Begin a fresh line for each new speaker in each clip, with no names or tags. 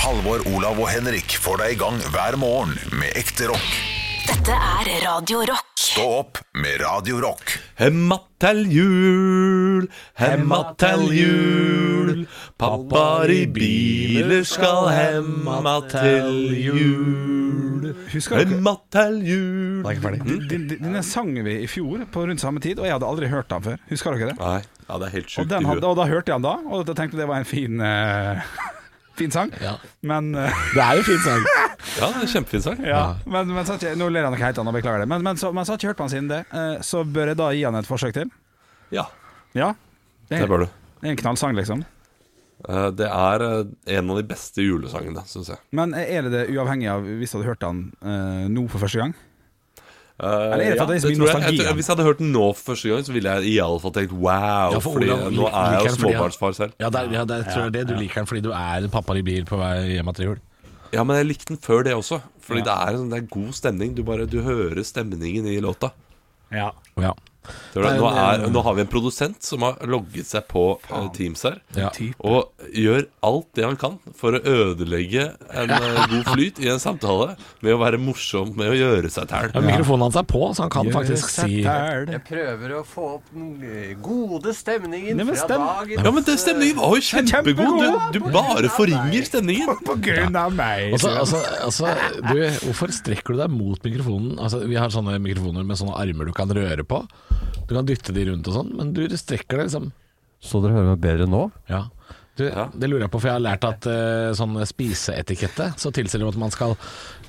Halvor, Olav og Henrik får deg i gang hver morgen med ekte rock.
Dette er Radio Rock.
Stå opp med Radio Rock.
Hemma til jul, hemma til jul. Pappaer i biler skal hemma til jul.
Husker dere
Hemma til jul.
den, den, den sang vi i fjor på rundt samme tid, og jeg hadde aldri hørt den før. Husker dere det?
Nei, ja, det er helt
Og,
sjukt i
den hadde,
huet.
og da hørte jeg den da, og da tenkte jeg det var en fin eh, Fin sang. Men, eh,
Det er jo en fin sang.
Ja, det er kjempefin sang.
ja, men, men så har ikke, Nå ler jeg noe helt annet, beklager det. Men, men, så, men så har jeg ikke hørt på den siden det. eh, så bør jeg da gi han et forsøk til?
Ja,
Ja. Det
det
er,
bør du.
det er en knallsang, liksom.
Eh, Det er eh, en av de beste julesangene, syns jeg.
Men eh, er det det uavhengig av hvis du hadde hørt den eh, nå for første gang?
Eh,
det
ja,
fordi det er
tror
så mye
jeg.
nostalgi
Jeg tror-
igjen?
Hvis jeg hadde hørt den nå for første gang, så ville jeg iallfall tenkt wow.
Ja, for
fordi
Olav
nå
lik-
er jeg jo
liker den fordi han-
småbarnsfar selv.
Ja, det er, ja, det er, tror jeg det du liker den fordi du er pappa i bil på vei hjem til jul.
Ja, men jeg likte den før det også. Fordi det, er, en sånn- det er god stemning. Du bare du hører stemningen i låta.
Ja.
Ja.
Det var det.
Nei,
Nå,
men-
er, nå har vi en produsent som har logget seg på eh, Teams her.
Ja.
Og gjør alt det han kan for å ødelegge en eh, god flyt i en samtale med å være morsom med å gjøre seg tæl.
Ja, mikrofonen hans er på, så han kan faktisk si
Jeg prøver å få opp den eh, gode stemningen
Nei, men
fra
stem-
dagen.
Ja, men den stemningen var jo kjempegod! Du, du bare forringer stemningen.
På grunn av meg!
Altså, altså, altså du, Hvorfor strekker du deg mot mikrofonen? Altså, vi har sånne mikrofoner med sånne armer du kan røre på. Du kan dytte de rundt og sånn, men du strekker deg liksom.
Så dere hører meg bedre nå?
Ja. Du, Det lurer jeg på, for jeg har lært at eh, sånn spiseetikette så tilsier det at man skal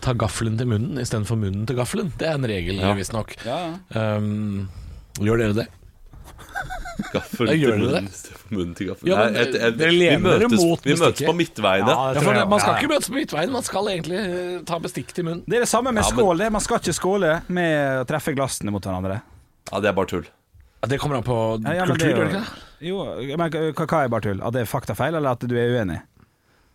ta gaffelen til munnen istedenfor munnen til gaffelen. Det er en regel, visstnok.
Ja,
Um, gjør dere det?
Gaffel
Ja, gjør
til
dere det?
munnen, munn til gaffel.
Ja, men,
Nei, et- et-
dere
vi
lener dere
møtes,
mot
vi møtes
bestikket.
på midtveiene.
Ja,
Ja, det tror
for
jeg.
man skal
Ja, ja.
ikke møtes på midtveien, man skal egentlig eh, ta bestikk til munnen.
Det er det samme med
Ja, men-
skål. det. Man skal ikke skåle med å treffe glassene mot hverandre.
Ja, det er bare tull.
Ja, det kommer an på
Ja, ja, men
kultur,
det er
gjør
jo-
det ikke det?
Jo, men hva- hva er bare tull? At det er faktafeil, eller at du er uenig?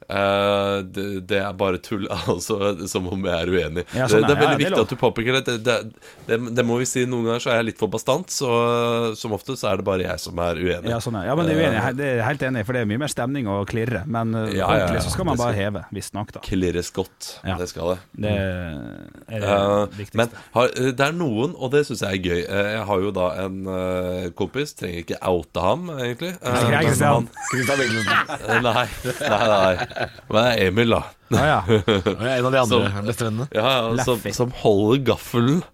Eh, det, det er bare tull, altså, som om jeg er uenig.
Ja, sånn
det, det er veldig
er- ja, det
viktig
er lov.
at du påpeker det. Det, det, det. det må vi si noen ganger, så er jeg litt for bastant. Så eh, som ofte så er det bare jeg som er uenig.
Ja, sånn er. ja men det er uenig. Det er jeg helt enig, i, for det er mye mer stemning å klirre. Men uh,
Eh, Ja, ja, ja.
ordentlig så skal man
Det
bare
skal-
heve, visstnok, da.
Klirres godt.
Ja.
Det skal jeg.
Det er det
Eh,
viktigste.
men har, eh, det er noen, og det syns jeg er gøy. Eh, jeg har jo da en eh, kompis, trenger ikke oute ham, egentlig. Eh,
Nei,
men
ikke sant.
Kristian Viglensen.
han- nei, nei, nei. Men det er Emil, da.
Ja, ja.
Og jeg er en av de andre bestevennene.
Ja, ja, som,
Laffer.
som holder gaffelen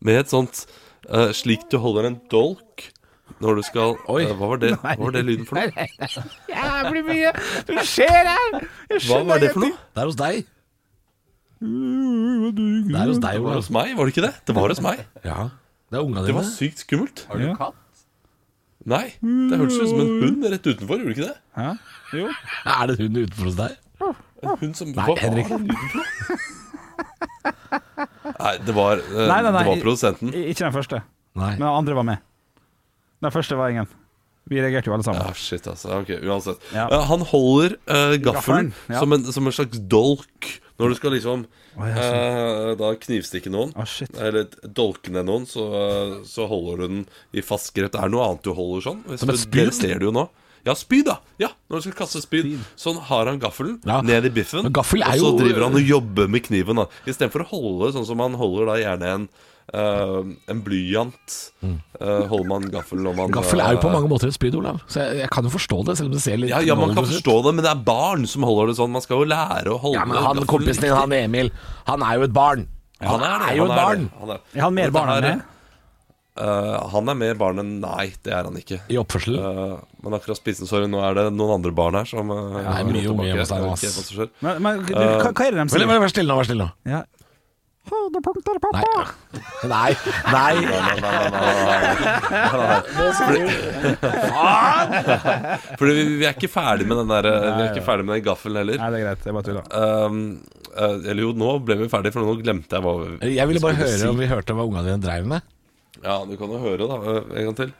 med et sånt eh, Slik du holder en dolk når du skal Oi, hva, var det, hva var det lyden for noe?
Jævlig mye! Det skjer her!
Hva var det for noe?
Det er hos deg. Det er hos deg,
Det var hos
Olav.
meg, var det ikke det? Det var hos meg.
Ja. Det er unga
Det
dine.
var sykt skummelt.
Har du katt?
Nei, det hørtes ut som en hund rett utenfor, gjorde det ikke det?
Hæ? Jo.
Er det hun utenfor hos deg?
En hund som
Nei,
hva var
Henrik.
den lyden for noe? Nei, det var, eh,
Nei, nei, nei.
det var produsenten.
I- Ikke den første,
Nei.
men den andre var med. Den første var ingen. Vi reagerte jo alle sammen.
Ja, shit, altså. Ok, uansett.
Ja.
Eh, han holder eh, gaffelen
Gaffelen, ja.
som, en, som en slags dolk når du skal liksom
ja,
eh, Da knivstikke noen.
Å, shit.
Eller dolke ned noen, så, eh, så holder du den i fast grep. Det er noe annet du holder sånn. Hvis
Som et
du-
spyd?
Dere ser det jo nå. Ja, spyd, da! Ja, Når du skal kaste spyd. Sånn har han gaffelen
Ja.
ned i biffen.
Men gaffel er
og så
jo-
driver han og jobber med kniven. da Istedenfor å holde sånn som han holder da gjerne en, eh, en blyant. eh, holder man gaffelen når man
Mm. Gaffel er jo på
eh,
mange måter et spyd, Olav. Så jeg, jeg kan jo forstå det, selv om det ser litt
ja, ja, man kan
knallgodt ut.
forstå det, men det er barn som holder det sånn. Man skal jo lære å holde
Ja, men han
gaffelen
kompisen din,
riktig.
han Emil, han er jo et barn.
han er, det,
er jo et barn.
det, Han er,
Er han mer
Dette
barn enn
her-
meg?
Eh, han er mer barn enn Nei, det er han ikke.
I oppførsel.
Eh, men akkurat spisesorry, nå er det noen andre barn her som uh,
er mye unge hjemme hos deg, ass.
Men, men
Eh,
du, hva, hva er det de
Vær
sier?
vær stille nå, vær stille nå.
Ja. Høydepunkter,
Nei. Nei. Nei.
Fordi vi, vi er ikke ferdig med den der eh, Vi er ikke ferdig med den gaffelen heller.
Nei, det er greit. Jeg bare tuller.
Um, eh, eller jo, nå ble vi ferdig, for nå glemte jeg hva vi
Jeg ville bare
skulle
høre om vi hørte hva ungene dine dreiv med.
si. Ja, du kan jo høre, da. eh, En gang til.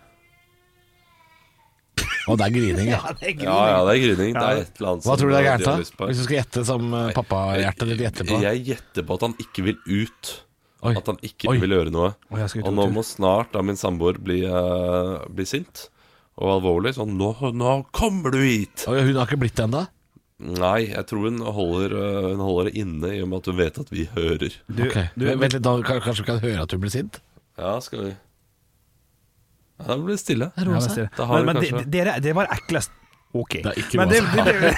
Og det er grining, ja.
Ja, ja, det er gryning. Det er et eller annet
Hva
som
tror du det er
de har
gærent da?
lyst på.
Hvis du skal gjette som eh, pappahjertet ditt gjetter på.
Jeg gjetter på at han ikke vil ut.
Oi.
At han ikke
Oi.
vil gjøre noe.
Å, jeg skal ut
og
en
nå
tur.
må snart da min samboer bli, eh, bli sint og alvorlig. Sånn nå, 'Nå kommer du hit!'
Oi, hun har ikke blitt det ennå?
Nei, jeg tror hun holder, eh, hun holder det inne i og med at hun vet at vi hører.
Du,
Ok.
du,
Men Vent litt, da kan- kanskje vi kan høre at hun blir sint?
Ja, skal vi ja, Da blir det stille.
Ja, men sier det.
Da har
men,
du
men
kanskje-
det- dere, det var eklest Ok.
Det er ikke
men, det,
noe
det, det,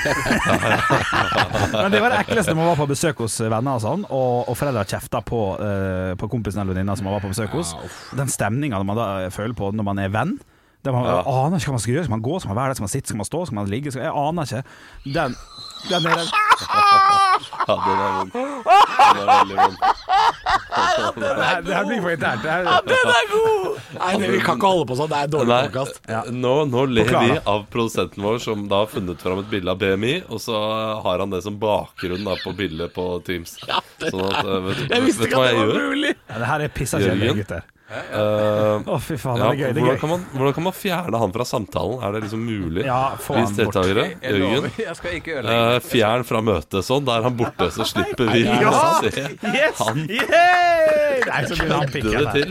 men det var det ekleste når man var på besøk hos venner og sånn, og, og foreldra kjefta på, eh, på kompisen eller venninna som man var på besøk hos. Den stemninga man da føler på når man er venn. Der man
Ja.
aner ikke hva man skal gjøre. Skal man gå, skal man være der, skal man sitte, skal man stå, skal man ligge? Skal, jeg aner ikke. Den, den er
Ja, den er vond. Den er veldig vond.
det, her, det her blir for internt. Det her,
Den er god! Nei, det, vi kan ikke holde på sånn. Det er dårlig
Nei,
podkast.
nå, nå ler
Forklar,
vi
da.
av produsenten vår som da har funnet fram et bilde av BMI, og så har han det som bakgrunn da på bildet på Teams. Sånn at, eh, vet,
Jeg visste
vet du
ikke
hva
at det
jeg
var
gjør?
mulig!
ja, det her er pissa
Jørgen?
kjedelig, gutter.
Eh,
Å, fy faen,
ja,
det er gøy. Det
hvordan,
er
kan
gøy.
man, hvordan kan man fjerne han fra samtalen? Er det liksom mulig?
Ja, få
Hvis
han bort.
deltakere,
Jeg
Jørgen,
lover, jeg skal ikke ødelegge.
eh, fjern fra møtet sånn. Da er han borte, så slipper vi
Ja!
å se
Yes!
Han-
Yay! Nei, så blir han
kødde
pikken
det
der.
til.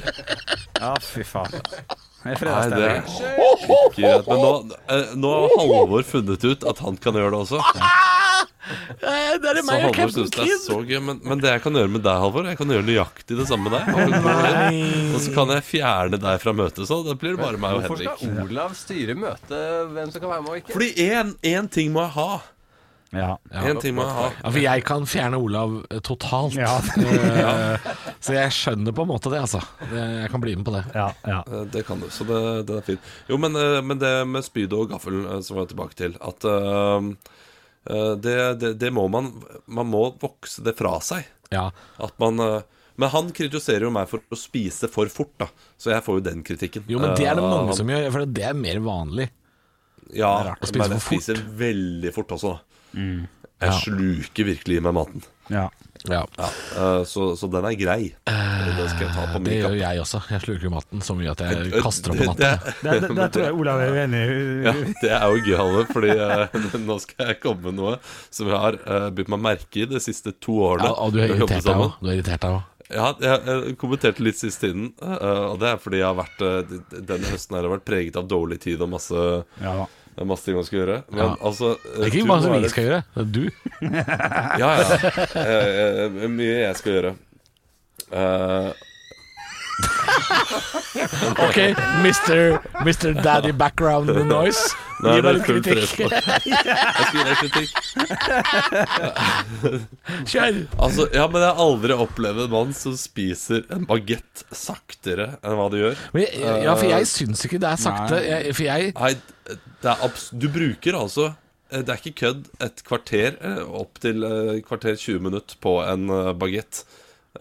Ja, fy faen. Det er
Nei, det
fredagsstemning.
er ikke greit. Men nå, eh, nå har Halvor funnet ut at han kan gjøre det også.
Eh, Det er det
Så
meg og
Halvor
Captain
synes det er
Kid.
så gøy men, men det jeg kan gjøre med deg, Halvor Jeg kan gjøre nøyaktig det samme med deg. Og så kan jeg fjerne deg fra møtet, så det blir bare meg og
Hvorfor
Henrik.
skal Olav styre møtet, hvem som kan være med og ikke?
Fordi én, én ting må jeg ha.
Ja.
En ting må jeg ha.
Ja, for jeg kan fjerne Olav eh, totalt.
Ja.
Eh, Så jeg skjønner på en måte det, altså. Det- Jeg kan bli med på det.
Ja, ja.
Eh, Det kan du, så det, det er fint. Jo, men, eh, men det med spydet og gaffelen eh, som var jeg tilbake til, at eh, eh, det, det, det må man Man må vokse det fra seg.
Ja.
At man eh, men han kritiserer jo meg for å spise for fort, da. Så jeg får jo den kritikken.
Jo, men det er det
Eh, av
mange
han.
som gjør, for det er mer vanlig.
Ja,
å spise
men jeg
for fort.
spiser veldig fort også, da. Jeg sluker virkelig i meg maten.
ja.
Ja,
Eh, så, så den er grei. det skal jeg ta på
Eh, Det
min
gjør
kappe.
jeg også. Jeg sluker maten så mye at jeg
Eh,
kaster opp på
det,
matten.
Der, der, der tror jeg Olav er uenig.
ja, det er jo gøy, Halle, fordi eh, nå skal jeg komme med noe som jeg har uh, bitt meg merke i de siste to årene.
Ja, og du er
Vi har jobbet
irritert deg
sammen.
òg. Du er irritert deg også.
Ja, jeg, jeg kommenterte litt siste tiden, eh, og det er fordi jeg har vært eh, d- Denne høsten her har vært preget av dårlig tid og masse,
Ja, da.
masse ting man skal gjøre. Men
Ja.
altså
Det er ikke bare som vi skal gjøre, det er du.
Ja, ja. Eh, eh, mye jeg skal gjøre. Eh,
Ok, Mr. Mr. Daddy Background Noise.
Nei,
Gi
det
meg
er
litt
full
kritikk.
press jeg skal gi deg kritikk.
Kjør!
Altså, ja, men jeg har aldri opplevd en mann som spiser en bagett saktere enn hva du gjør.
Men, jeg- ja, for jeg syns ikke det er sakte. Jeg, for jeg
Nei, det er abs du bruker altså eh, Det er ikke kødd et kvarter eh, opp til eh, kvarter 20 minutter på en bagett.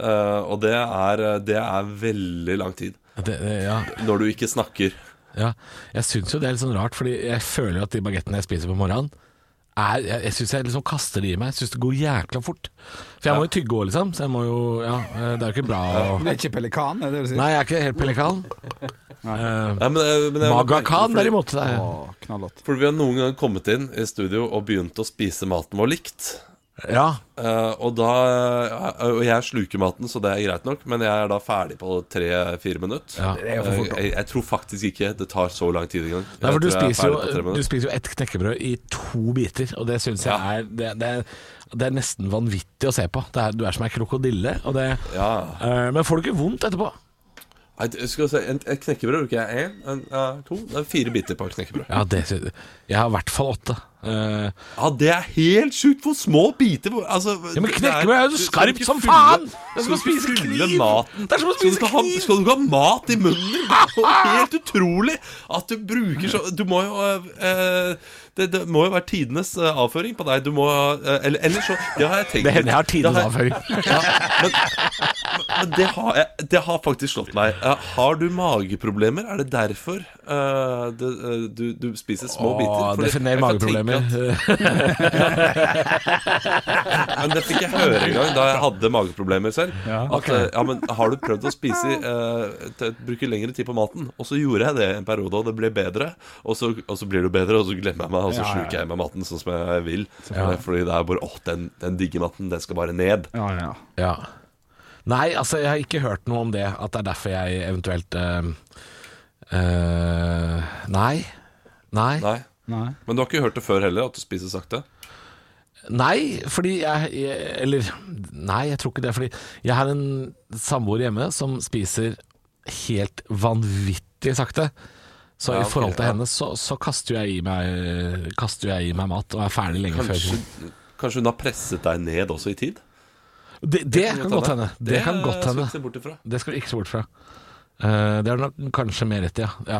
og det er, eh, det er veldig lang tid.
det, det- ja,
Når du ikke snakker.
ja. Jeg syns jo det er litt sånn rart, Fordi jeg føler jo at de bagettene jeg spiser på morgenen er, jeg jeg syns jeg liksom kaster de i meg. Jeg syns det går jækla fort. For jeg må jo tygge òg, liksom. Så jeg må jo Ja, eh, det er jo ikke bra å
Du er ikke pelikan, er det det du sier?
Nei, jeg er ikke helt pelikan.
Nei, men, eh, men jeg-
Maga Khan,
fordi-
derimot. Det er,
Å, knallhått.
For vi har noen gang kommet inn i studio og begynt å spise maten vår likt.
ja.
Eh, og da eh, Og jeg sluker maten, så det er greit nok, men jeg er da ferdig på tre-fire minutter.
Ja.
Det er jo for fort, da.
Eh, jeg, jeg tror faktisk ikke det tar så lang tid engang.
Nei,
Jeg
for du
tror jeg er
spiser,
ferdig på tre
jo, eh, du
minutter.
spiser jo ett knekkebrød i to biter, og det syns jeg
Ja.
er det, det, er- det er nesten vanvittig å se på. Det er, du er som ei krokodille. Og det,
Ja.
Eh, men får du ikke vondt etterpå?
Nei, du- skal vi se, en, et knekkebrød bruker jeg én, en, ja, to Det er fire biter på et knekkebrød.
Ja, det, syns- jeg har i hvert fall åtte. Eh,
Ja, det er helt sjukt hvor små biter hvor- altså,
ja, men
det
knekkebrød er jo
du skal
skarpt
ikke
som
fylle-
faen! Det er
skal
som å
du ikke
spise
fylle
kniv!
maten.
Det er som
Skal
å
du
spise
ikke ha-
kniv!
Skal du ikke ha mat i munnen din? Det er jo helt utrolig at du bruker så Du må jo eh, det, det må jo være tidenes eh, avføring på deg. Du må eh, Eller ellers så Det har jeg tenkt
Det hender jeg har
Det
tidenes avføring.
ja, men, men det, har jeg, det har faktisk slått meg. Eh, Har du mageproblemer? Er det derfor eh, det, eh, du, du spiser små biter?
Åh,
Fordi
Definer
jeg kan tenke
mageproblemer.
at- Men det fikk jeg høre en gang da jeg hadde mageproblemer selv. at,
ok.
eh, ja, men har du prøvd å spise eh, t- bruke lengre tid på maten? Og så gjorde jeg det en periode, og det ble bedre. Og så, og så blir det bedre, og så glemmer jeg meg, og så sluker jeg meg maten sånn som jeg vil. Eh, Fordi det er bare åh, den, den digge maten, den skal bare ned.
Ja, ja.
Ja. Nei, altså jeg har ikke hørt noe om det, at det er derfor jeg eventuelt eh, eh, Nei. Nei.
Nei.
Nei.
Men du har ikke hørt det før heller, at du spiser sakte?
Nei, fordi jeg, jeg Eller nei, jeg tror ikke det. Fordi jeg har en samboer hjemme som spiser helt vanvittig sakte. Så
Ja,
i forhold
ok,
til
ja.
henne så, så kaster jeg i meg Kaster jeg i meg mat og er ferdig lenge
Kanskje,
før.
kanskje hun har presset deg ned også i tid?
Det, det kan godt hende. Det kan godt
skal vi
hende.
se bort ifra.
Det skal du ikke se bort fra. Eh, det er nok kanskje mer rett, ja. ja.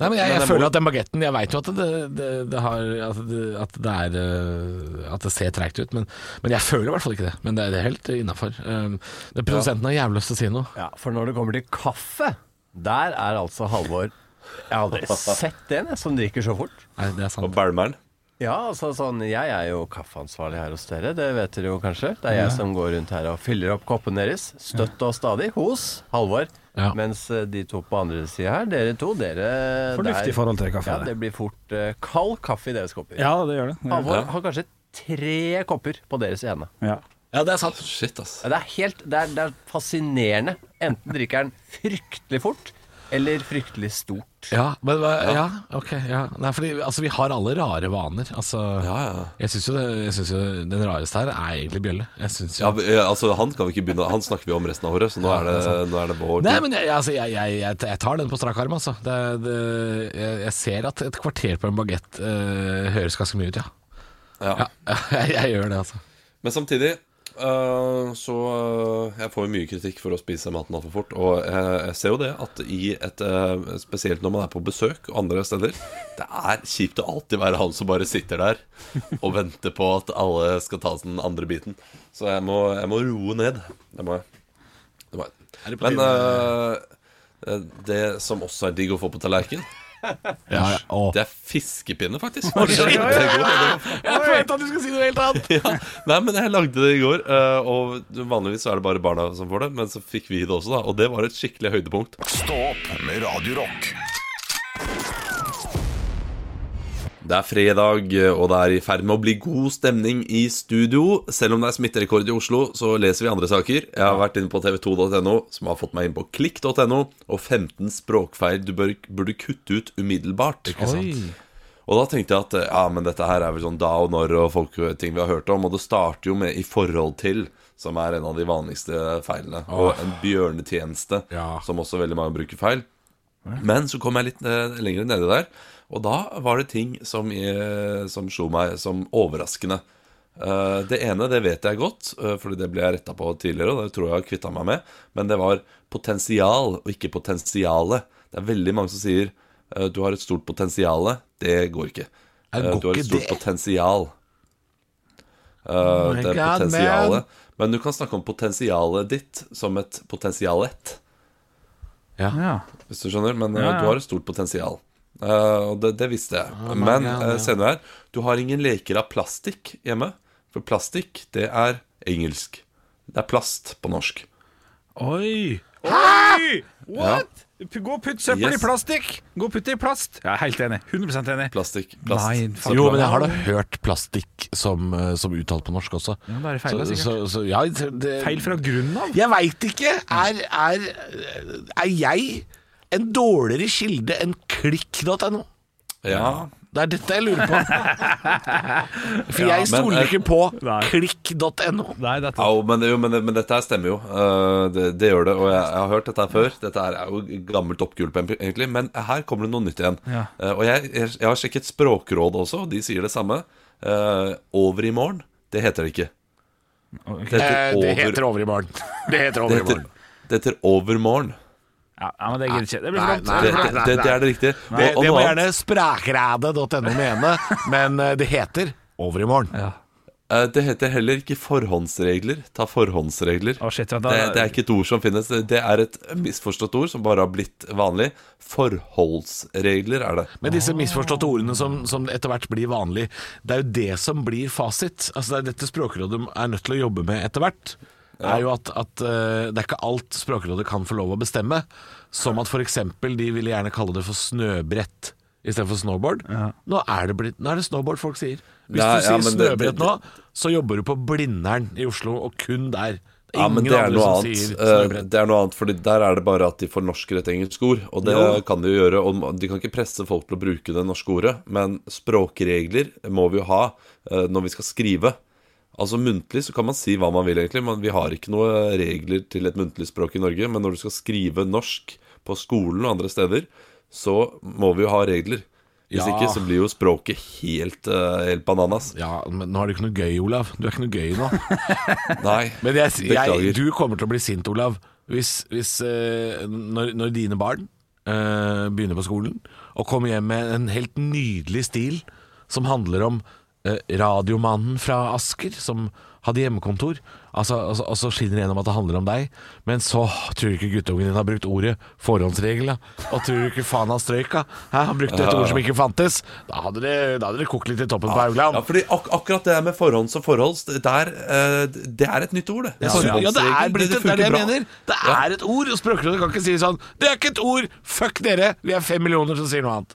Nei, men jeg,
Men
jeg
det
føler
må-
at den bagetten Jeg veit jo at det, det, det har At det, at det er eh, At det ser treigt ut, men, men jeg føler i hvert fall ikke det. Men det er det er helt innafor. Um, produsenten har jævlig lyst til å si noe.
Ja, for når det kommer til kaffe, der er altså Halvor Jeg har aldri sett en jeg, som drikker så fort.
Nei, det er
Og
sant.
Bælmeren.
Ja, altså sånn Jeg er jo kaffeansvarlig her hos dere, det vet dere jo kanskje. Det er jeg som går rundt her og fyller opp koppene deres, støtt og stadig, hos Halvor.
Ja.
Mens eh, de to på andre sida her, dere to, dere
Fornuftig
der-
forhold til kaffe,
Ja,
det.
det blir fort eh, kald kaffe i deres kopper.
Ja, det gjør det. Det gjør det.
Halvor har kanskje tre kopper på deres ene.
Ja.
Ja, det er sant.
Shit, ass.
Ja, Det er helt det er, det er fascinerende. Enten drikker han fryktelig fort, eller fryktelig stort.
Ja, men hva- Ja, ok. Ja. Nei, fordi altså, vi har alle rare vaner. Altså
Ja, ja.
Jeg syns jo, det- jeg synes jo den rareste her er egentlig Bjølle. Jeg synes jo
Ja, vi- ja, altså Han kan vi ikke begynne Han snakker vi om resten av året, så nå er det, nå er det vår
Nei,
tur.
men jeg, altså, jeg, jeg, jeg, jeg tar den på strak arm, altså. Det, det, jeg, jeg ser at et kvarter på en bagett eh, høres ganske mye ut, ja.
Ja.
ja jeg, jeg gjør det, altså.
Men samtidig øh, så øh, Jeg får jo mye kritikk for å spise maten altfor fort. Og jeg, jeg ser jo det at i et øh, Spesielt når man er på besøk og andre steder. Det er kjipt å alltid være han som bare sitter der og venter på at alle skal ta den andre biten. Så jeg må, jeg må roe ned. Det må jeg. Det må jeg. Men øh, det som også er digg å få på tallerken,
Ja, ja.
det er fiskepinne, faktisk. Det er god, det var
Jeg følte at du skulle si noe helt annet!
ja. Nei, men jeg lagde det i går, eh, og vanligvis så er det bare barna som får det, men så fikk vi det også, da. Og det var et skikkelig høydepunkt.
Stå opp med Radio Rock.
Det er fredag, eh, og det er i ferd med å bli god stemning i studio. Selv om det er smitterekord i Oslo, så leser vi andre saker. Jeg har vært inne på tv2.no, som har fått meg inn på klikk.no, og 15 språkfeil du bør, burde kutte ut umiddelbart. Og da tenkte jeg at eh, ja, men dette her er vel sånn da og når og folk, ting vi har hørt om. Og det starter jo med 'i forhold til', som er en av de vanligste feilene. Og en bjørnetjeneste,
Ja.
som også veldig mange bruker feil. Men så kom jeg litt eh, lenger nedi der, og da var det ting som, eh, som slo meg som overraskende. Eh, det ene det vet jeg godt, eh, fordi det ble jeg retta på tidligere. Og det tror jeg jeg har kvitta meg med. Men det var potensial og ikke potensiale. Det er veldig mange som sier eh, du har et stort potensiale. Det går ikke.
Er
Eh,
går
du har
ikke
et stort
det? Oh
potensial. Eh,
my
det er
God, man.
potensialet. Men du kan snakke om potensialet ditt som et potensialett.
Ja.
Hvis du skjønner, men eh,
Ja, ja.
du har et stort potensial. Eh, og det, det visste jeg. men
God,
eh,
ja.
senere her Du har ingen leker av plastikk hjemme. For plastikk, det er engelsk. Det er plast på norsk.
Oi! What? Gå og putt søppel
Yes.
i plastikk! Gå og putt det i plast! Jeg er helt enig. 100 enig.
Plastikk. Plast.
Nei,
Så-
Jo, men jeg har da hørt plastikk som, eh, som uttalt på norsk også.
Ja, da er det feil, da,
så, så,
sikkert.
så, ja, det,
Feil fra grunnen av?
Jeg veit ikke. Er, er, er jeg en dårligere kilde enn klikk.no?
Ja.
Det er dette jeg lurer på. For jeg
men,
stoler
eh,
ikke på
nei.
klikk.no.
Nei, dette
Au, men, det- jo, men, det- men dette her stemmer jo. Eh, det, det gjør det. Og jeg, jeg har hørt dette her før. Dette her er jo gammelt oppgulp, egentlig. Men her kommer det noe nytt igjen.
Ja.
Eh, og jeg, jeg, jeg har sjekket Språkrådet også, og de sier det samme. Eh, over i morgen, det heter det ikke. Det
Eh,
heter
det
over
heter over i morgen. Det heter over
Det
i
heter,
morgen.
det heter Overmorgen.
Ja, ja, men det gidder ikke. Det blir for
Nei,
Det,
nei, nei.
dumt.
det, det, det er det riktige. Og,
Det,
og noe
det må
annet,
gjerne sprækræde.no mene, men eh, det heter over i morgen.
eh, det heter heller ikke forhåndsregler. Ta forhåndsregler.
Å, shit, ja, da-
det, det er ikke et ord som finnes. Det er et misforstått ord som bare har blitt vanlig. Forholdsregler er det.
Men disse misforståtte ordene som, som etter hvert blir vanlig, det er jo det som blir fasit. Altså Det er dette Språkrådet er nødt til å jobbe med etter hvert. Er jo at, at eh, Det er ikke alt Språkrådet kan få lov å bestemme. Som at f.eks. de ville gjerne kalle det for snøbrett istedenfor snowboard. Nå, er det blitt, nå er det snowboard folk sier. Hvis
Nei,
du
ja,
sier
men det-
snøbrett
det-
nå, så jobber du på Blindern i Oslo, og kun der. Det er
Ja, men
ingen
det er noe
andre som
annet.
sier
Eh,
snøbrett.
Det er noe annet, fordi der er det bare at de fornorsker et engelsk ord. Og det
Jo.
kan de jo gjøre. Og de kan ikke presse folk til å bruke det norske ordet, men språkregler må vi jo ha eh, når vi skal skrive. Altså Muntlig så kan man si hva man vil, egentlig. Men vi har ikke noen regler til et muntlig språk i Norge. Men når du skal skrive norsk på skolen og andre steder, så må vi jo ha regler. Hvis
Ja.
ikke så blir jo språket helt, eh, helt bananas.
Ja, men nå har du ikke noe gøy, Olav. Du er ikke noe gøy nå.
Nei.
Men jeg, jeg,
Beklager.
du kommer til å bli sint, Olav, hvis, hvis eh, når, når dine barn eh, begynner på skolen og kommer hjem med en helt nydelig stil som handler om eh, radiomannen fra Asker som hadde hjemmekontor, altså, altså, og så skinner det gjennom at det handler om deg, men så tror du ikke guttungen din har brukt ordet forhåndsregel, da? og tror du ikke faen han strøyk, da? Hæ, han brukte et ord som ikke fantes, da hadde det, da hadde det kokt litt i toppen på Haugland.
Ja, fordi ak akkurat det der med forhånds og forholds, det, der, eh, det er et nytt ord, det.
Ja, ja, det er blitt et, det er det jeg
funker bra.
mener. Det er et ord, og Språkrådet kan ikke si sånn Det er ikke et ord! Fuck dere! Vi er fem millioner som sier noe annet.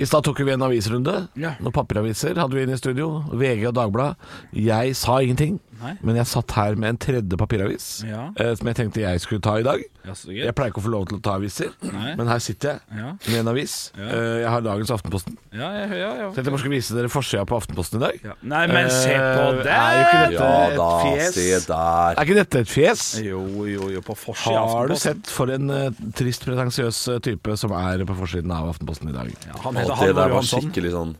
I stad tok vi en avisrunde.
Ja.
Noen papiraviser hadde vi inne i studio. VG og Dagbladet. Jeg sa ingenting,
Nei.
men jeg satt her med en tredje papiravis
Ja.
eh, som jeg tenkte jeg skulle ta i dag.
Ja, så gøy.
Jeg pleier ikke å få lov til å ta aviser,
Nei.
men her sitter jeg
Ja.
med en avis. Eh, jeg har dagens Aftenposten.
Ja, ja, ja, ja.
Tenkte jeg bare skulle vise dere forsida på Aftenposten i dag.
Nei, men se på
Eh,
det!
Er jo ikke dette
Ja da,
et
se
fjes?
der.
Er ikke dette et fjes?
Jo, jo, jo, på forsida.
Har du sett for en eh, trist, pretensiøs eh, type som er på forsiden av Aftenposten i dag? Ja,
Han
Og
heter
det der
Halvor
var
Johansson.
skikkelig sånn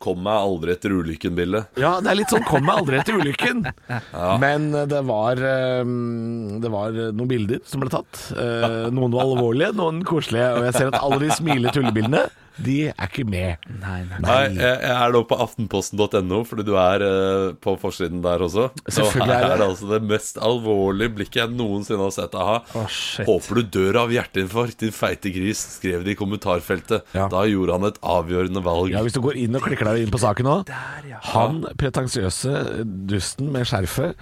Kom meg aldri etter ulykken-bilde.
det er litt sånn 'kom meg aldri etter ulykken'. Men eh, det var, eh, det var eh, noen bilder som ble tatt. Eh, Noen var alvorlige, noen koselige. Og jeg ser at alle de smilende tullebildene, de er ikke med.
Nei, nei.
Nei, jeg, jeg er nå på aftenposten.no, fordi du er eh, på forsiden der også. Og
Selvfølgelig er
her
det.
er det altså det mest alvorlige blikket jeg noensinne har sett deg ha.
Å, shit.
Håper du dør av hjerteinfarkt, din feite gris, skrev de i kommentarfeltet.
Ja.
Da gjorde han et avgjørende valg.
Ja, Hvis du går inn og klikker deg inn på saken nå Han pretensiøse dusten med skjerfet,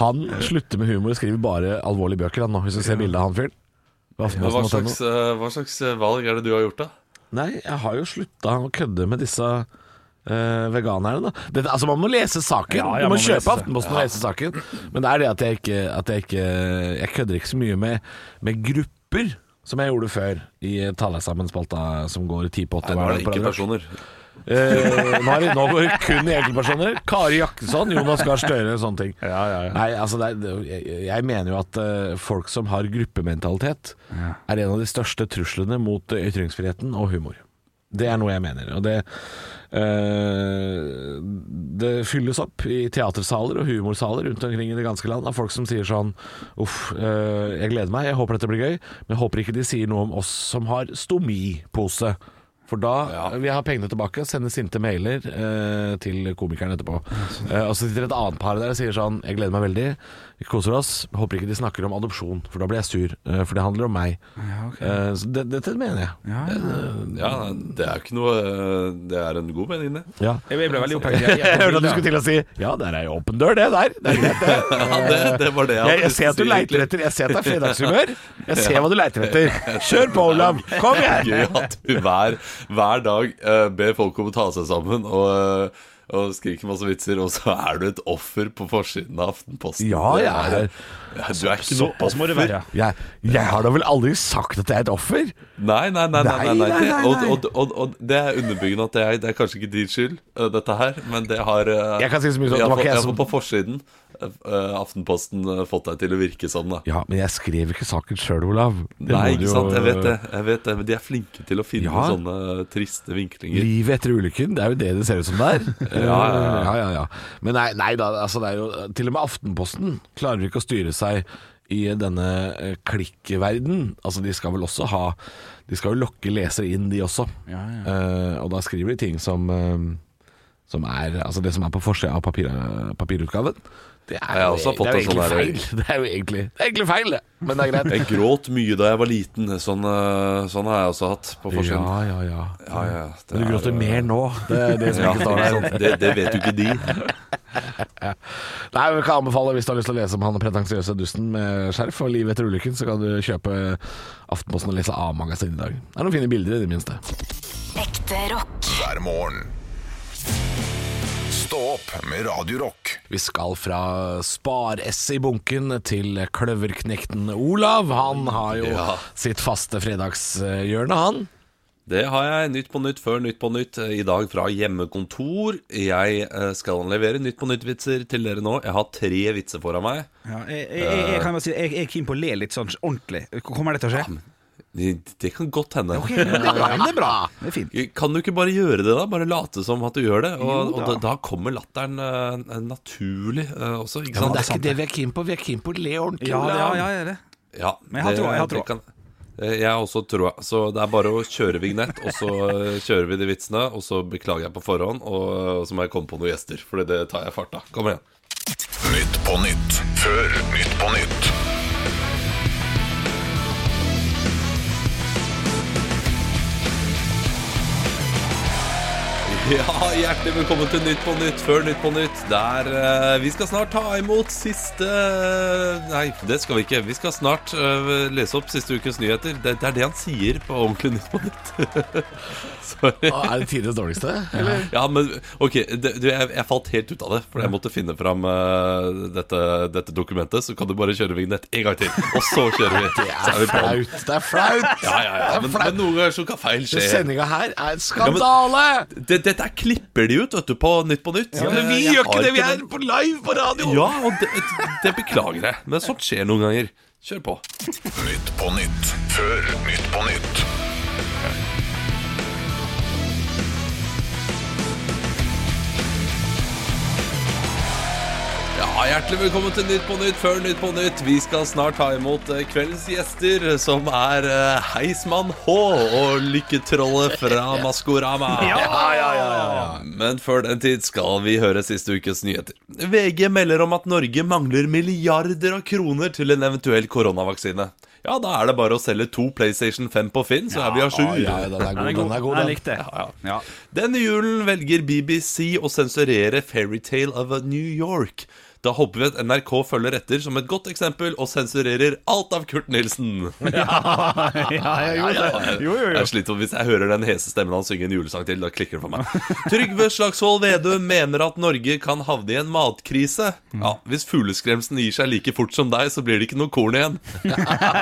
han slutter med humor og skriver bare alvorlige bøker, han nå, hvis du ser bildet av han fyren. på
Men hva
aftenposten.no.
slags, eh, hva slags eh, valg er det du har gjort, da?
Nei, jeg har jo slutta å kødde med disse eh, veganerne, da. Dette, altså, man må lese saken.
Ja, ja,
du må
man må lese.
kjøpe Aftenposten og lese saken. Men det er det at jeg ikke, at jeg ikke Jeg kødder ikke så mye med, med grupper som jeg gjorde før i Talleksammen-spalta som går ti på åtte.
Nå
hver
er det
dag på
ikke
Radio Rock.
personer.
Eh, nå, er vi, nå går det kun i enkeltpersoner. Kari Jakkesson, Jonas Gahr Støre, sånne ting.
Ja, ja, ja.
Nei, altså det er, det- jeg, jeg mener jo at eh, folk som har gruppementalitet, er en av de største truslene mot eh, ytringsfriheten og humor. Det er noe jeg mener. Og det, eh, det fylles opp i teatersaler og humorsaler rundt omkring i det ganske land av folk som sier sånn Uff, eh, jeg gleder meg, jeg håper dette blir gøy, men jeg håper ikke de sier noe om oss som har stomipose. For da Vi har pengene tilbake, sender sinte mailer eh, til komikeren etterpå. Eh, og så sitter et annet par der og sier sånn Jeg gleder meg veldig, vi koser oss. Håper ikke de snakker om adopsjon, for da blir jeg sur. eh, for det handler om meg. Eh, så det, dette mener jeg.
Ja, det er jo ikke noe eh, Det er en god mening, det.
Ja.
Jeg ble veldig opphengt. Jeg-
Jeg
jeg-
hørte at du skulle til å si Ja, der er jo åpen dør, det der. Det er greit, det.
Ja, det, det var det
Jeg,
hadde
jeg
lyst til
ser
å
at du
si,
leiter
egentlig.
etter Jeg ser at det er fredagshumør. Jeg ser hva du leiter etter. Kjør på, Olav. Kom igjen.
Gøy at du hver, hver dag eh, ber folk om å ta seg sammen og, eh, og skriker masse vitser, og så er du et offer på forsiden av Aftenposten.
Ja,
Det
jeg er-
ja, Du er ikke noe
Såpass må det være.
Jeg, jeg har da vel aldri sagt at jeg er et offer?
Nei, nei, nei. nei, nei,
Nei, nei,
Det,
nei,
og,
nei.
og, og, og det er underbyggende at det er, det er kanskje ikke din skyld, eh, dette her, men det har eh,
Jeg kan si så mye som at det
i
var ikke
hvert fall-
jeg
i hvert
som-
fall på forsiden eh, eh, Aftenposten eh, fått deg til å virke sånn, da.
Ja, men jeg skrev ikke saken sjøl, Olav. Det
Nei, ikke
må du jo-
sant. Jeg vet det. jeg vet det Men de er flinke til å finne
Ja.
sånne eh, triste vinklinger.
Livet etter ulykken, det er jo det det ser ut som det er. Eh,
ja, ja.
ja, ja, ja. Men nei, nei da, altså det er jo Til og med Aftenposten klarer ikke å styre seg i denne eh, klikkverden. Altså de skal vel også ha De skal jo lokke lesere inn, de også. Eh, og da skriver de ting som eh, Som er Altså det som er på forsida av papir, papirutgaven. Det er,
Jeg har
jo-
også fått
det er jo
en
egentlig
sånn der-
feil. Det er jo egentlig, det er egentlig feil, det. Men det er greit.
Jeg gråt mye da jeg var liten. Sånn, eh, sånn har jeg også hatt på forsiden.
Ja, ja, ja.
Ja, ja, det
Men du
er,
gråter
eh,
mer nå. Det er det som
Ja,
ikke sånn. står der.
det, det vet jo ikke de.
Nei, men jeg kan anbefale Hvis du har lyst til å lese om han pretensiøse dusten med skjerf og livet etter ulykken, så kan du kjøpe Aftenposten og lese A-magasinet i dag. Det er noen fine bilder, i det minste.
Ekte rock.
hver morgen. Stå opp med Radio Rock.
Vi skal fra Spar-S i bunken til kløverknekten Olav. Han har jo
Ja.
sitt faste fredagshjørne, han.
Det har jeg. Nytt på nytt før Nytt på nytt. eh, I dag fra hjemmekontor. Jeg eh, skal levere Nytt på nytt-vitser til dere nå. Jeg har tre vitser foran meg.
Ja, jeg, jeg, jeg, jeg kan bare si jeg, jeg er keen på å le litt sånn ordentlig. Kommer det til å skje?
Det, det kan godt hende.
det er bra. Det er fint.
Kan du ikke bare gjøre det, da? Bare late som at du gjør det. Og, og da, da kommer latteren eh, naturlig eh, også, ikke sant?
det er ikke det vi er keen på. Vi er keen på å le ordentlig.
Ja, ja,
Olav.
ja, jeg er det.
Ja,
Men jeg har
det-
troa, jeg har
det
troa.
kan- Eh, Jeg har også troa. Så det er bare å kjøre vignett, og så eh, kjører vi de vitsene. Og så beklager jeg på forhånd, og og så må jeg komme på noen gjester, for det tar jeg fart av. Kom igjen.
Nytt på nytt før Nytt på nytt.
Ja, Hjertelig velkommen til Nytt på Nytt før Nytt på Nytt. Der eh, vi skal snart ta imot siste Nei, det skal vi ikke. Vi skal snart eh, lese opp siste ukens nyheter. Det, det er det han sier på ordentlig Nytt på Nytt. Sorry.
Å, Er det tidenes dårligste? Eller?
Ja, men ok, det, du, jeg, jeg falt helt ut av det, for jeg måtte finne fram eh, dette, dette dokumentet. Så kan du bare kjøre vignett en gang til, og så kjører vi.
Det
Så
er
vi på.
flaut. Det er flaut!
Ja, ja, ja. Men, men noen ganger så kan feil skje.
Sendinga her er en
men-
skandale!
Det- Dette her klipper de ut, vet du, på Nytt på Nytt. Eh,
Ja, men vi
Jeg
gjør
har
ikke det, vi
den-
er på live på radio!
Ja, og det, det beklager jeg, men sånt skjer noen ganger. Kjør på.
Nytt på nytt før Nytt på nytt.
Ja, Hjertelig velkommen til Nytt på Nytt før Nytt på Nytt. Vi skal snart ta imot eh, kveldens gjester, som er eh, Heismann H og Lykketrollet fra Maskorama. Men før den tid skal vi høre siste ukes nyheter. VG melder om at Norge mangler milliarder av kroner til en eventuell koronavaksine. Ja, da er det bare å selge to PlayStation 5 på Finn, så er vi à jour.
Ja, ja, den er god, den er god.
Jeg
Den.
likte det.
Ja,
Ja.
Denne julen velger BBC å sensurere Fairytale of New York. Da håper vi at NRK følger etter som et godt eksempel og sensurerer alt av Kurt Nilsen.
Ja, jeg gjorde det. Jo, jo, jo.
Jeg sliter hvis jeg hører den hese stemmen han synger en julesang til. Da klikker det for meg. Trygve Slagsvold Vedum mener at Norge kan havne i en matkrise.
Mm.
Ja, Hvis fugleskremsen gir seg like fort som deg, så blir det ikke noe korn igjen.
Ja,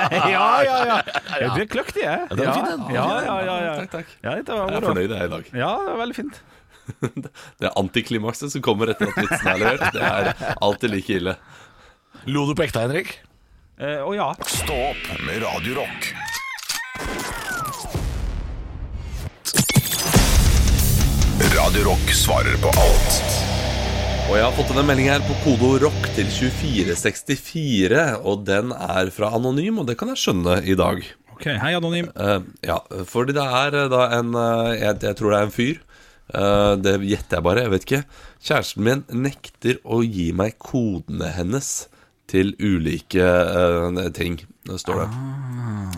ja, ja. Jeg blir kløktig, jeg. Ja,
var fint, den.
ja, ja, ja, ja.
Takk, takk.
Ja, dette var
Jeg er
moro.
fornøyd jeg, i dag.
Ja, det var veldig fint.
Det er antiklimakset som kommer etter at vitsen er levert. Det er alltid like ille.
Lo du på ekte, Henrik?
Eh, Å ja.
Stå opp med Radio Rock. Radio Rock svarer på alt.
Og jeg har fått en melding her på kodeord rock til 2464, og den er fra Anonym, og det kan jeg skjønne i dag.
Ok, Hei, Anonym.
Eh, ja, fordi det er eh, da en eh, jeg, jeg tror det er en fyr. Eh, det gjetter jeg bare, jeg vet ikke. Kjæresten min nekter å gi meg kodene hennes til ulike eh, ting, det står det.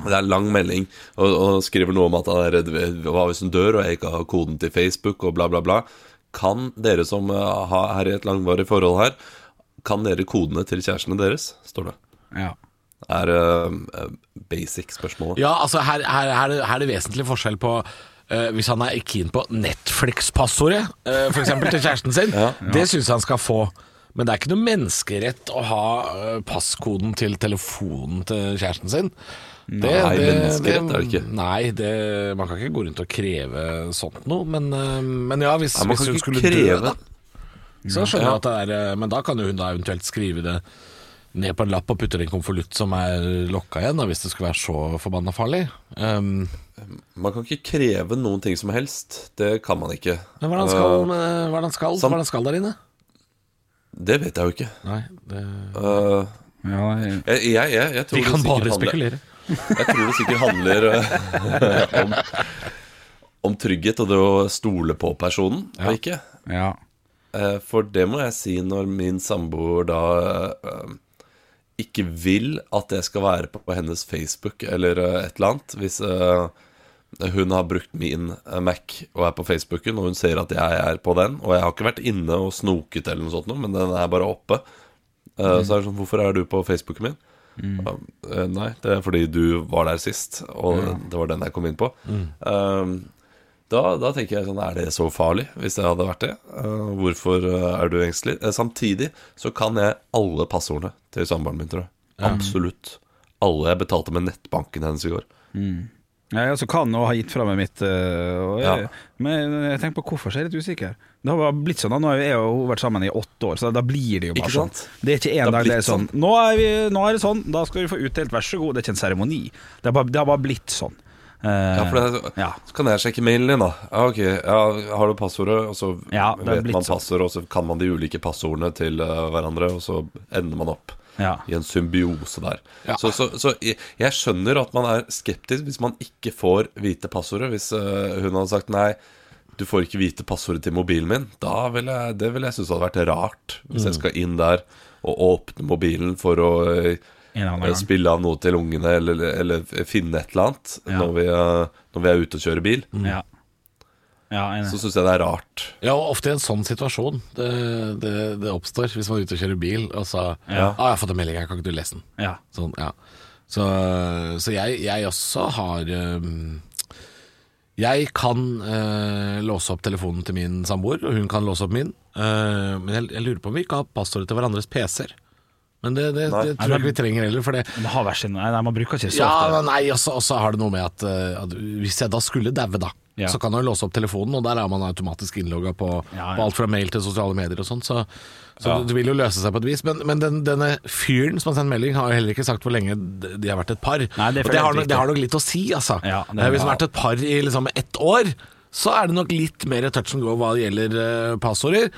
Det er en lang melding, og, og skriver noe om at han er redd ved- Hva hvis hun dør, og jeg ikke har koden til Facebook, og bla, bla, bla. Kan dere som eh, har er i et langvarig forhold her, kan dere kodene til kjærestene deres? Står det.
Ja.
Er eh, basic spørsmål.
Ja, altså her, her, her, er det- her er det vesentlig forskjell på eh, hvis han er keen på Netflix-passordet, uh, f.eks. til kjæresten sin. Det syns han skal få. Men det er ikke noe menneskerett å ha eh, passkoden til telefonen til kjæresten sin. Det-
Nei, menneskerett er det ikke.
Nei, det, man kan ikke gå rundt og kreve sånt noe. Men, eh, men ja, hvis,
Nei, man
hvis
kan
hun
ikke
skulle
kreve.
dø, da, så skjønner jeg at det er eh, Men da kan jo hun da eventuelt skrive det ned på en lapp og putter det i en konvolutt som er lokka igjen, da, hvis det skulle være så forbanna farlig. Um,
Man kan ikke kreve noen ting som helst. Det kan man ikke.
men hvordan skal,
Eh,
uh, hvordan skal,
sam-
hvordan skal der inne?
det vet jeg jo ikke.
Nei, det,
Eh,
Ja, jeg...
jeg, jeg, jeg, jeg tror
vi
det
kan
sikkert
bare
handler-
spekulere.
Jeg tror det sikkert handler eh, om, om trygghet og det å stole på personen, og ikke.
ja.
Eh, for det må jeg si når min samboer da eh, ikke vil at jeg skal være på, på hennes Facebook eller eh, et eller annet. Hvis eh, hun har brukt min eh, Mac og er på Facebooken, og hun ser at jeg er på den, og jeg har ikke vært inne og snoket eller noe sånt, noe, men den er bare oppe. Eh, Så er det sånn, hvorfor er du på Facebooken min? Eh, Nei, det er fordi du var der sist, og det var den jeg kom inn på. Eh, Da, da tenker jeg sånn Er det så farlig, hvis det hadde vært det? Eh, hvorfor eh, er du engstelig? Eh, samtidig så kan jeg alle passordene til samboeren min, tror jeg. Absolutt. Alle jeg betalte med nettbanken hennes i går.
Jeg også kan og har gitt fra meg mitt. øh, og jeg,
Ja.
Men jeg tenker på hvorfor så er jeg litt usikker. Det har bare blitt sånn da. Nå har jeg og hun vært sammen i åtte år, så da blir det jo bare
Ikke
sånn.
sant?
Det er ikke en
Det har
dag det er
blitt
sånn. Nå er, vi, nå er det sånn, da skal vi få utdelt, vær så god. Det er ikke en seremoni. Det, har bare- det har bare blitt sånn. Eh,
Ja, for det,
ja.
Så kan jeg sjekke mailen din, da. Ja, ok, ja, Har du passordet? Og så
Ja, det er
vet
blitt
man
sånn.
passord, og så kan man de ulike passordene til eh, hverandre, og så ender man opp
Ja.
i en symbiose der. Så, så, så jeg jeg skjønner at man er skeptisk hvis man ikke får vite passordet. Hvis eh, hun hadde sagt nei, du får ikke vite passordet til mobilen min, da ville jeg, det ville jeg synes hadde vært rart. Hvis
Mm.
jeg skal inn der og åpne mobilen for å eh,
En eller annen gang.
spille av noe til ungene, eller, eller finne et eller annet når, vi, eh, når vi er ute og kjører bil,
Mm.
ja. ja jeg er enig.
så syns jeg det er rart.
Ja, og ofte i en sånn situasjon det, det, det oppstår, hvis man er ute og kjører bil og så ah, 'Jeg har fått en melding, her, kan ikke du lese den?'
Ja.
Sånn, ja. Så, så jeg, jeg også har øhm, Jeg kan øh, låse opp telefonen til min samboer, og hun kan låse opp min. Øh, men jeg, jeg lurer på om vi ikke har passordet til hverandres PC-er. Men det, det, det tror jeg ikke vi trenger heller, for det
Men det har vært sin, nei, nei, man bruker ikke det så
ja,
ofte.
men nei, og så- og så har det noe med at, eh, at hvis jeg da skulle daue, da,
Ja.
så kan jeg jo låse opp telefonen, og der er man automatisk innlogga på,
Ja, ja.
på alt fra mail til sosiale medier og sånn, så, så det, det vil jo løse seg på et vis. Men, men den, denne fyren som har sendt melding, har jo heller ikke sagt hvor lenge de de har vært et par.
det
og
er
det har,
helt
nok-
riktig.
det har nok litt å si, altså.
Ja, det er-
Eh, hvis man har vært et par i liksom ett år, så er det nok litt mer touch and go hva gjelder eh, passorder.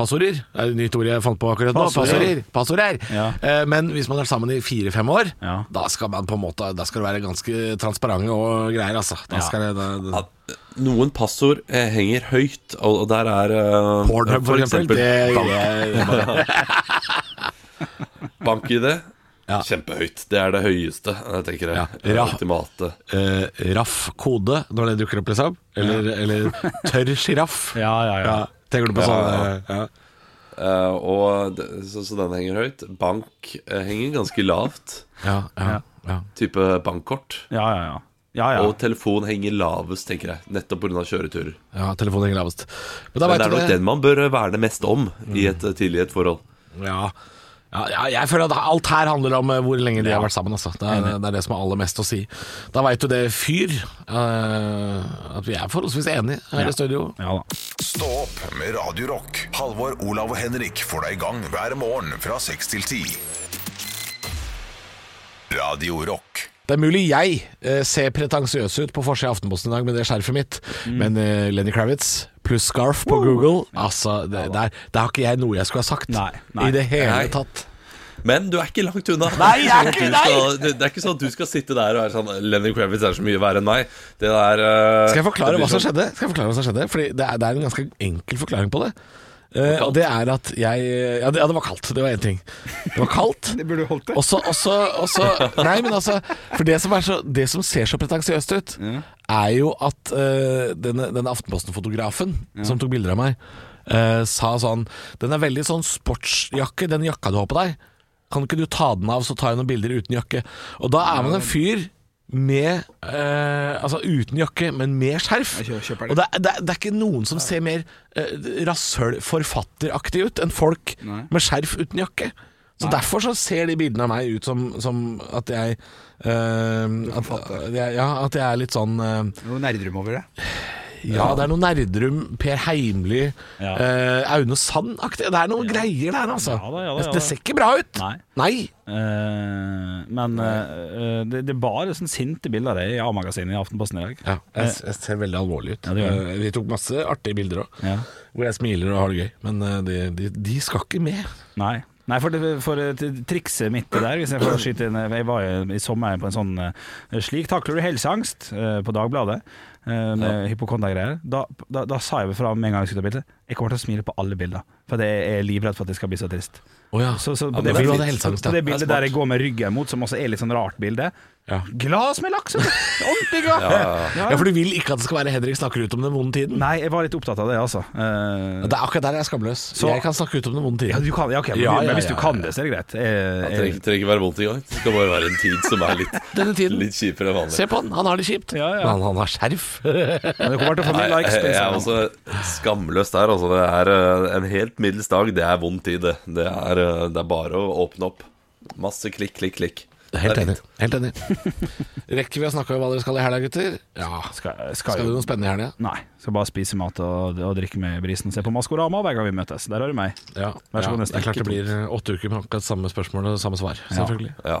Passorder er et nytt ord jeg fant på akkurat nå.
Passorder.
Passorder. passorder.
Ja.
Eh, Men hvis man har vært sammen i fire-fem år,
Ja.
da skal man på en måte Da skal det være ganske transparente og greier, altså. Da skal det, da, da.
At eh, noen passord eh, henger høyt, og, og der er eh,
Pornhub, for eksempel. Det,
Bank-ID.
Ja.
Kjempehøyt. Det er det høyeste, jeg tenker jeg.
Ja. Ja.
Ultimate.
Eh, Raff kode, når det dukker opp, liksom. Eller, eller tørr sjiraff.
Ja, ja, ja.
Ja, tenker du på sånne ja.
Eh, og det- så, så den henger høyt. Bank eh, henger ganske lavt.
Ja, ja, ja.
Type bankkort.
Ja, ja, ja. ja, ja.
Og telefon henger lavest, tenker jeg. Nettopp pga. kjøreturer.
ja telefonen henger lavest. Men da
Men det
vet
er
du Mm.
nok den man bør verne mest om i et eh, tidlig et forhold.
Ja. Ja, ja, jeg føler at alt her handler om eh, hvor lenge de har vært sammen. Altså. Det, er, det er det som er aller mest å si. Da veit du det, fyr, eh, at vi er forholdsvis enige her i studio.
ja da.
Stå opp med Radio Rock. Halvor, Olav og Henrik får deg i gang hver morgen fra 6 til 10. Radio Rock.
Det er mulig jeg eh, ser pretensiøs ut på forsida av Aftenposten i dag med det skjerfet mitt,
Mm.
men eh, Lenny Kravitz pluss scarf på Google Altså, det, der, der har ikke jeg noe jeg skulle ha sagt
Nei, nei.
i det hele
Nei.
tatt.
Men du er ikke langt unna.
Nei, jeg er
Det sånn
ikke-
at du skal- det- det er ikke sånn at du skal sitte der og være sånn Lenny Kravitz er så mye verre enn meg. Det der eh,
Skal jeg
det
forklare
blir
hva som
sånn-
skjedde? Skal jeg forklare hva som skjedde? Fordi det er, det er en ganske enkel forklaring på det. Eh, og det er at jeg eh, Ja, det, ja, det var kaldt. Det var én ting. Det var kaldt.
Det burde du holdt det.
Og så, og så, og så Nei, men altså For det som, er så, det som ser så pretensiøst ut, er jo at eh, denne, denne Aftenposten-fotografen som tok bilder av meg, eh, sa sånn Den er veldig sånn sportsjakke, den jakka du har på deg. Kan ikke du ta den av, så tar jeg noen bilder uten jakke? Og da er man en fyr med eh, Altså uten jakke, men med skjerf.
Jeg kjøper det.
Og det, er- det, er- det er ikke noen som ser mer eh, rasshøl-forfatteraktig ut enn folk med skjerf uten jakke. Så derfor så ser de bildene av meg ut som, som at jeg eh, at, jeg- ja, at jeg er litt sånn eh,
Noe nerdrum over det.
Ja, det er noe Nerdrum, Per Heimly,
Ja.
eh, Aune Sand-aktig. Det er noen greier der, altså.
Ja da, ja da, ja da.
Det ser ikke bra ut.
Nei.
Nei.
Eh, men eh, eh, det, det er bare sånn sinte bilder i A-magasinet i Aftenposten i dag.
Ja, jeg, jeg ser veldig alvorlig ut.
Eh. Ja, det gjør
Eh, vi tok masse artige bilder òg,
Ja.
hvor jeg smiler og har det gøy. Men eh, de, de, de skal ikke med.
Nei. Nei, for, det, for det trikset mitt der hvis Jeg får skyte inn eh, Jeg var jo i sommer på en sånn eh, Slik takler du helseangst eh, på Dagbladet, eh, med hypokonda-greier. Da, da, da sa jeg fra med en gang jeg skulle ta bilde Jeg kommer til å smile på alle bilder, for jeg er livredd for at jeg skal bli så trist.
Oh, ja.
Så, så på
men
det,
for du hadde
bildet-
helseangst, ja.
på det
Det
bildet
er
der
smart.
jeg går med ryggen mot, som også er litt sånn rart bilde
Ja.
Glass med laks! vet du. Ordentlig glad!
ja, for du vil ikke at det skal være Henrik snakker ut om den vonde tiden?
Nei, jeg var litt opptatt av det, altså. Eh,
Det er akkurat der jeg er skamløs. jeg kan snakke ut om den vonde
Ja,
tiden.
du kan, ja, ok, men,
Ja,
men
ja,
hvis
ja,
du
ja.
kan det, så er det greit. Eh,
Det trenger, trenger ikke være vondt engang. Det skal bare være en tid som er litt,
Denne tiden.
litt kjipere enn vanlig.
Se på han, han har det kjipt.
Ja, ja.
sånn. Men han, han har skjerf.
Men det kommer til å få mye likes. liksom.
jeg, jeg er
Spencer.
også skamløs der. Altså, det er eh, en helt middels dag. Det er vond tid, det. Det er, eh, det er bare å åpne opp. Masse klikk, klikk, klikk.
Helt
Det er
enig. Helt enig. Rekker vi å snakke om hva dere skal i helga, gutter? Ja. Skal,
Skal, skal
skal du
jo
noe spennende i helga?
Nei. Skal bare spise mat og, og drikke med brisen og se på Maskorama hver gang vi møtes. Der har du meg.
Ja.
Vær så god, neste
det er klart
uke,
det blir åtte uker med akkurat samme spørsmål og samme svar, selvfølgelig.
Ja.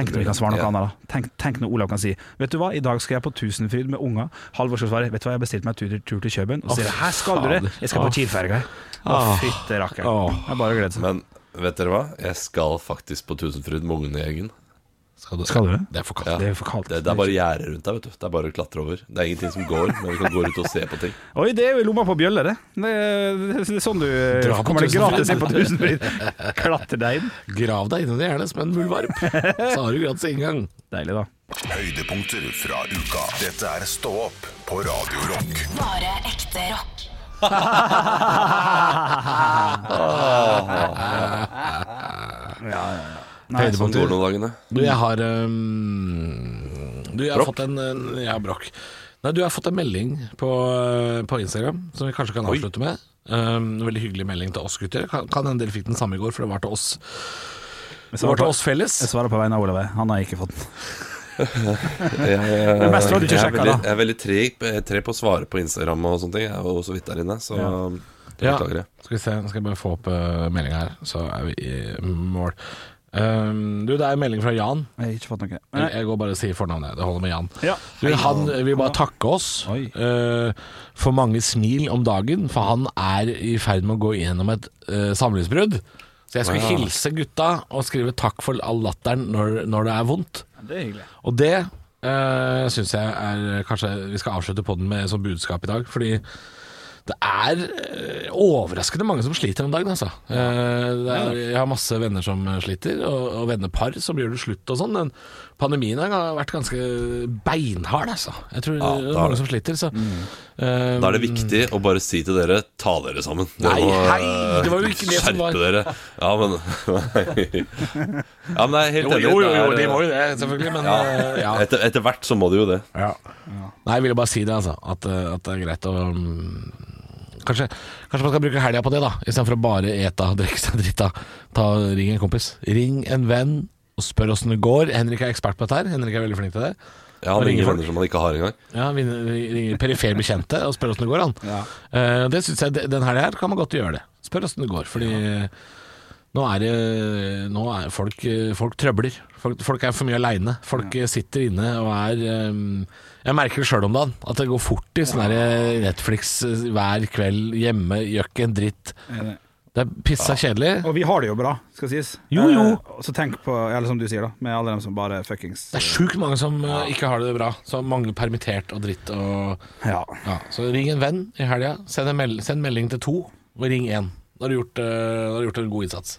Tenk når vi kan svare noe annet, da. Tenk, tenk når Olav kan si Vet du hva, i dag skal jeg på Tusenfryd med unga. Halvor skal svare Vet du hva, jeg bestilte meg tur, tur til København. Og så sier jeg Her skal du det!
fader.
Jeg skal på Kiel-ferga. Å, fytte rakkeren. Det er bare å glede seg.
Men vet dere hva? Jeg skal faktisk på Tusenfryd med ungene i gjengen.
Skal du?
Skal du det?
Det er for kaldt.
Ja.
Det er for kaldt.
Det, det er bare gjerde rundt der, vet du. Det er bare å klatre over. Det er ingenting som går, men vi kan gå rundt og se på ting.
Oi, det er jo i lomma på bjølle, det. Det er, det er sånn du
Dra på
kommer deg
Tusenfryd.
gratis inn på Tusenfryd. Klatre deg inn.
Grav deg inni det gjerne som en muldvarp, så har du gratis inngang.
Deilig, da.
Høydepunkter fra uka. Dette er Stå opp på Radio Rock.
Bare ekte rock.
Nei,
Sånn går noen dagene.
Du, jeg har um, Du, jeg har fått en en- Jeg har brokk. Nei, du jeg har fått en melding på, uh, på Instagram som vi kanskje kan avslutte med. Um, en veldig hyggelig melding til oss gutter. Kan, kan en del fikk den samme i går, for det var til oss. Det var til oss
Jeg
felles.
svarer på vegne av Olav. jeg. Han har ikke fått den.
Jeg, eh, jeg,
Men mest var du ikke
er
sjekka,
veldig,
da.
jeg er veldig treg, treg på å svare på Instagram og sånne ting. Jeg er jo så vidt der inne, så det
Ja.
beklager jeg.
Skal vi se, nå skal jeg bare få opp uh, meldinga her, så er vi i mål. Um, du, det er en melding fra Jan.
Jeg har ikke fått noe.
Jeg, jeg går bare og sier fornavnet. Det holder med Jan.
Ja.
Du, han vil bare takke oss
Oi.
eh, for mange smil om dagen, for han er i ferd med å gå gjennom et eh, samlivsbrudd. Så jeg skulle
Wow.
hilse gutta og skrive takk for all latteren når, når det er vondt.
Det er hyggelig.
Og det uh, syns jeg er Kanskje vi skal avslutte podden med et sånt budskap i dag, fordi det er eh, overraskende mange som sliter om dagen, altså. Eh, det er, jeg har masse venner som eh, sliter, og, og vennepar som gjør det slutt og sånn. Men pandemien har vært ganske beinhard, altså. Jeg tror
Ja,
det Mm.
det
er
har
mange
det.
som sliter, så eh,
Da er det viktig å bare si til dere ta dere sammen. Dere
Nei,
må,
hei,
eh,
det var jo ikke det som var-
Skjerpe dere. Ja, men Ja, men jeg er helt enig.
Jo, jo, jo,
Det
de
er,
må jo det, selvfølgelig, men eh, ja.
Etter, etter hvert så må de jo det.
Ja. Nei, jeg ville bare si det, altså. At, eh, at det er greit å mm, Kanskje, kanskje man skal bruke helga på det, da. Istedenfor å bare ete og drikke seg drita. Ta, ring en kompis. Ring en venn og spør åssen det går. Henrik er ekspert på dette her. Henrik er veldig flink til det.
Jeg har
Og ringer
ingen
folk.
venner som man ikke har engang.
Ja, vi vi ringer perifer bekjente og spør åssen det går, han. Eh, det synes jeg, de- Den helga her kan man godt gjøre det. Spør åssen det går. Fordi nå er det Nå er folk Folk trøbler. Folk, folk er for mye aleine. Folk sitter inne og er eh, Jeg merker det sjøl om dagen, at det går fort i sånn her Netflix eh, hver kveld hjemme, gjør ikke en dritt. Det er pissa kjedelig.
Og vi har det jo bra, skal sies.
Jo, jo.
Eh, Så tenk på, eller som du sier, da, med alle dem som bare fuckings
Det er sjukt mange som eh, ikke har det bra. Så mange permittert og dritt og
Ja.
Ja, så ring en venn i helga. Send, en mel send melding til to, og ring én. Da har du gjort, eh, da har du gjort en god innsats.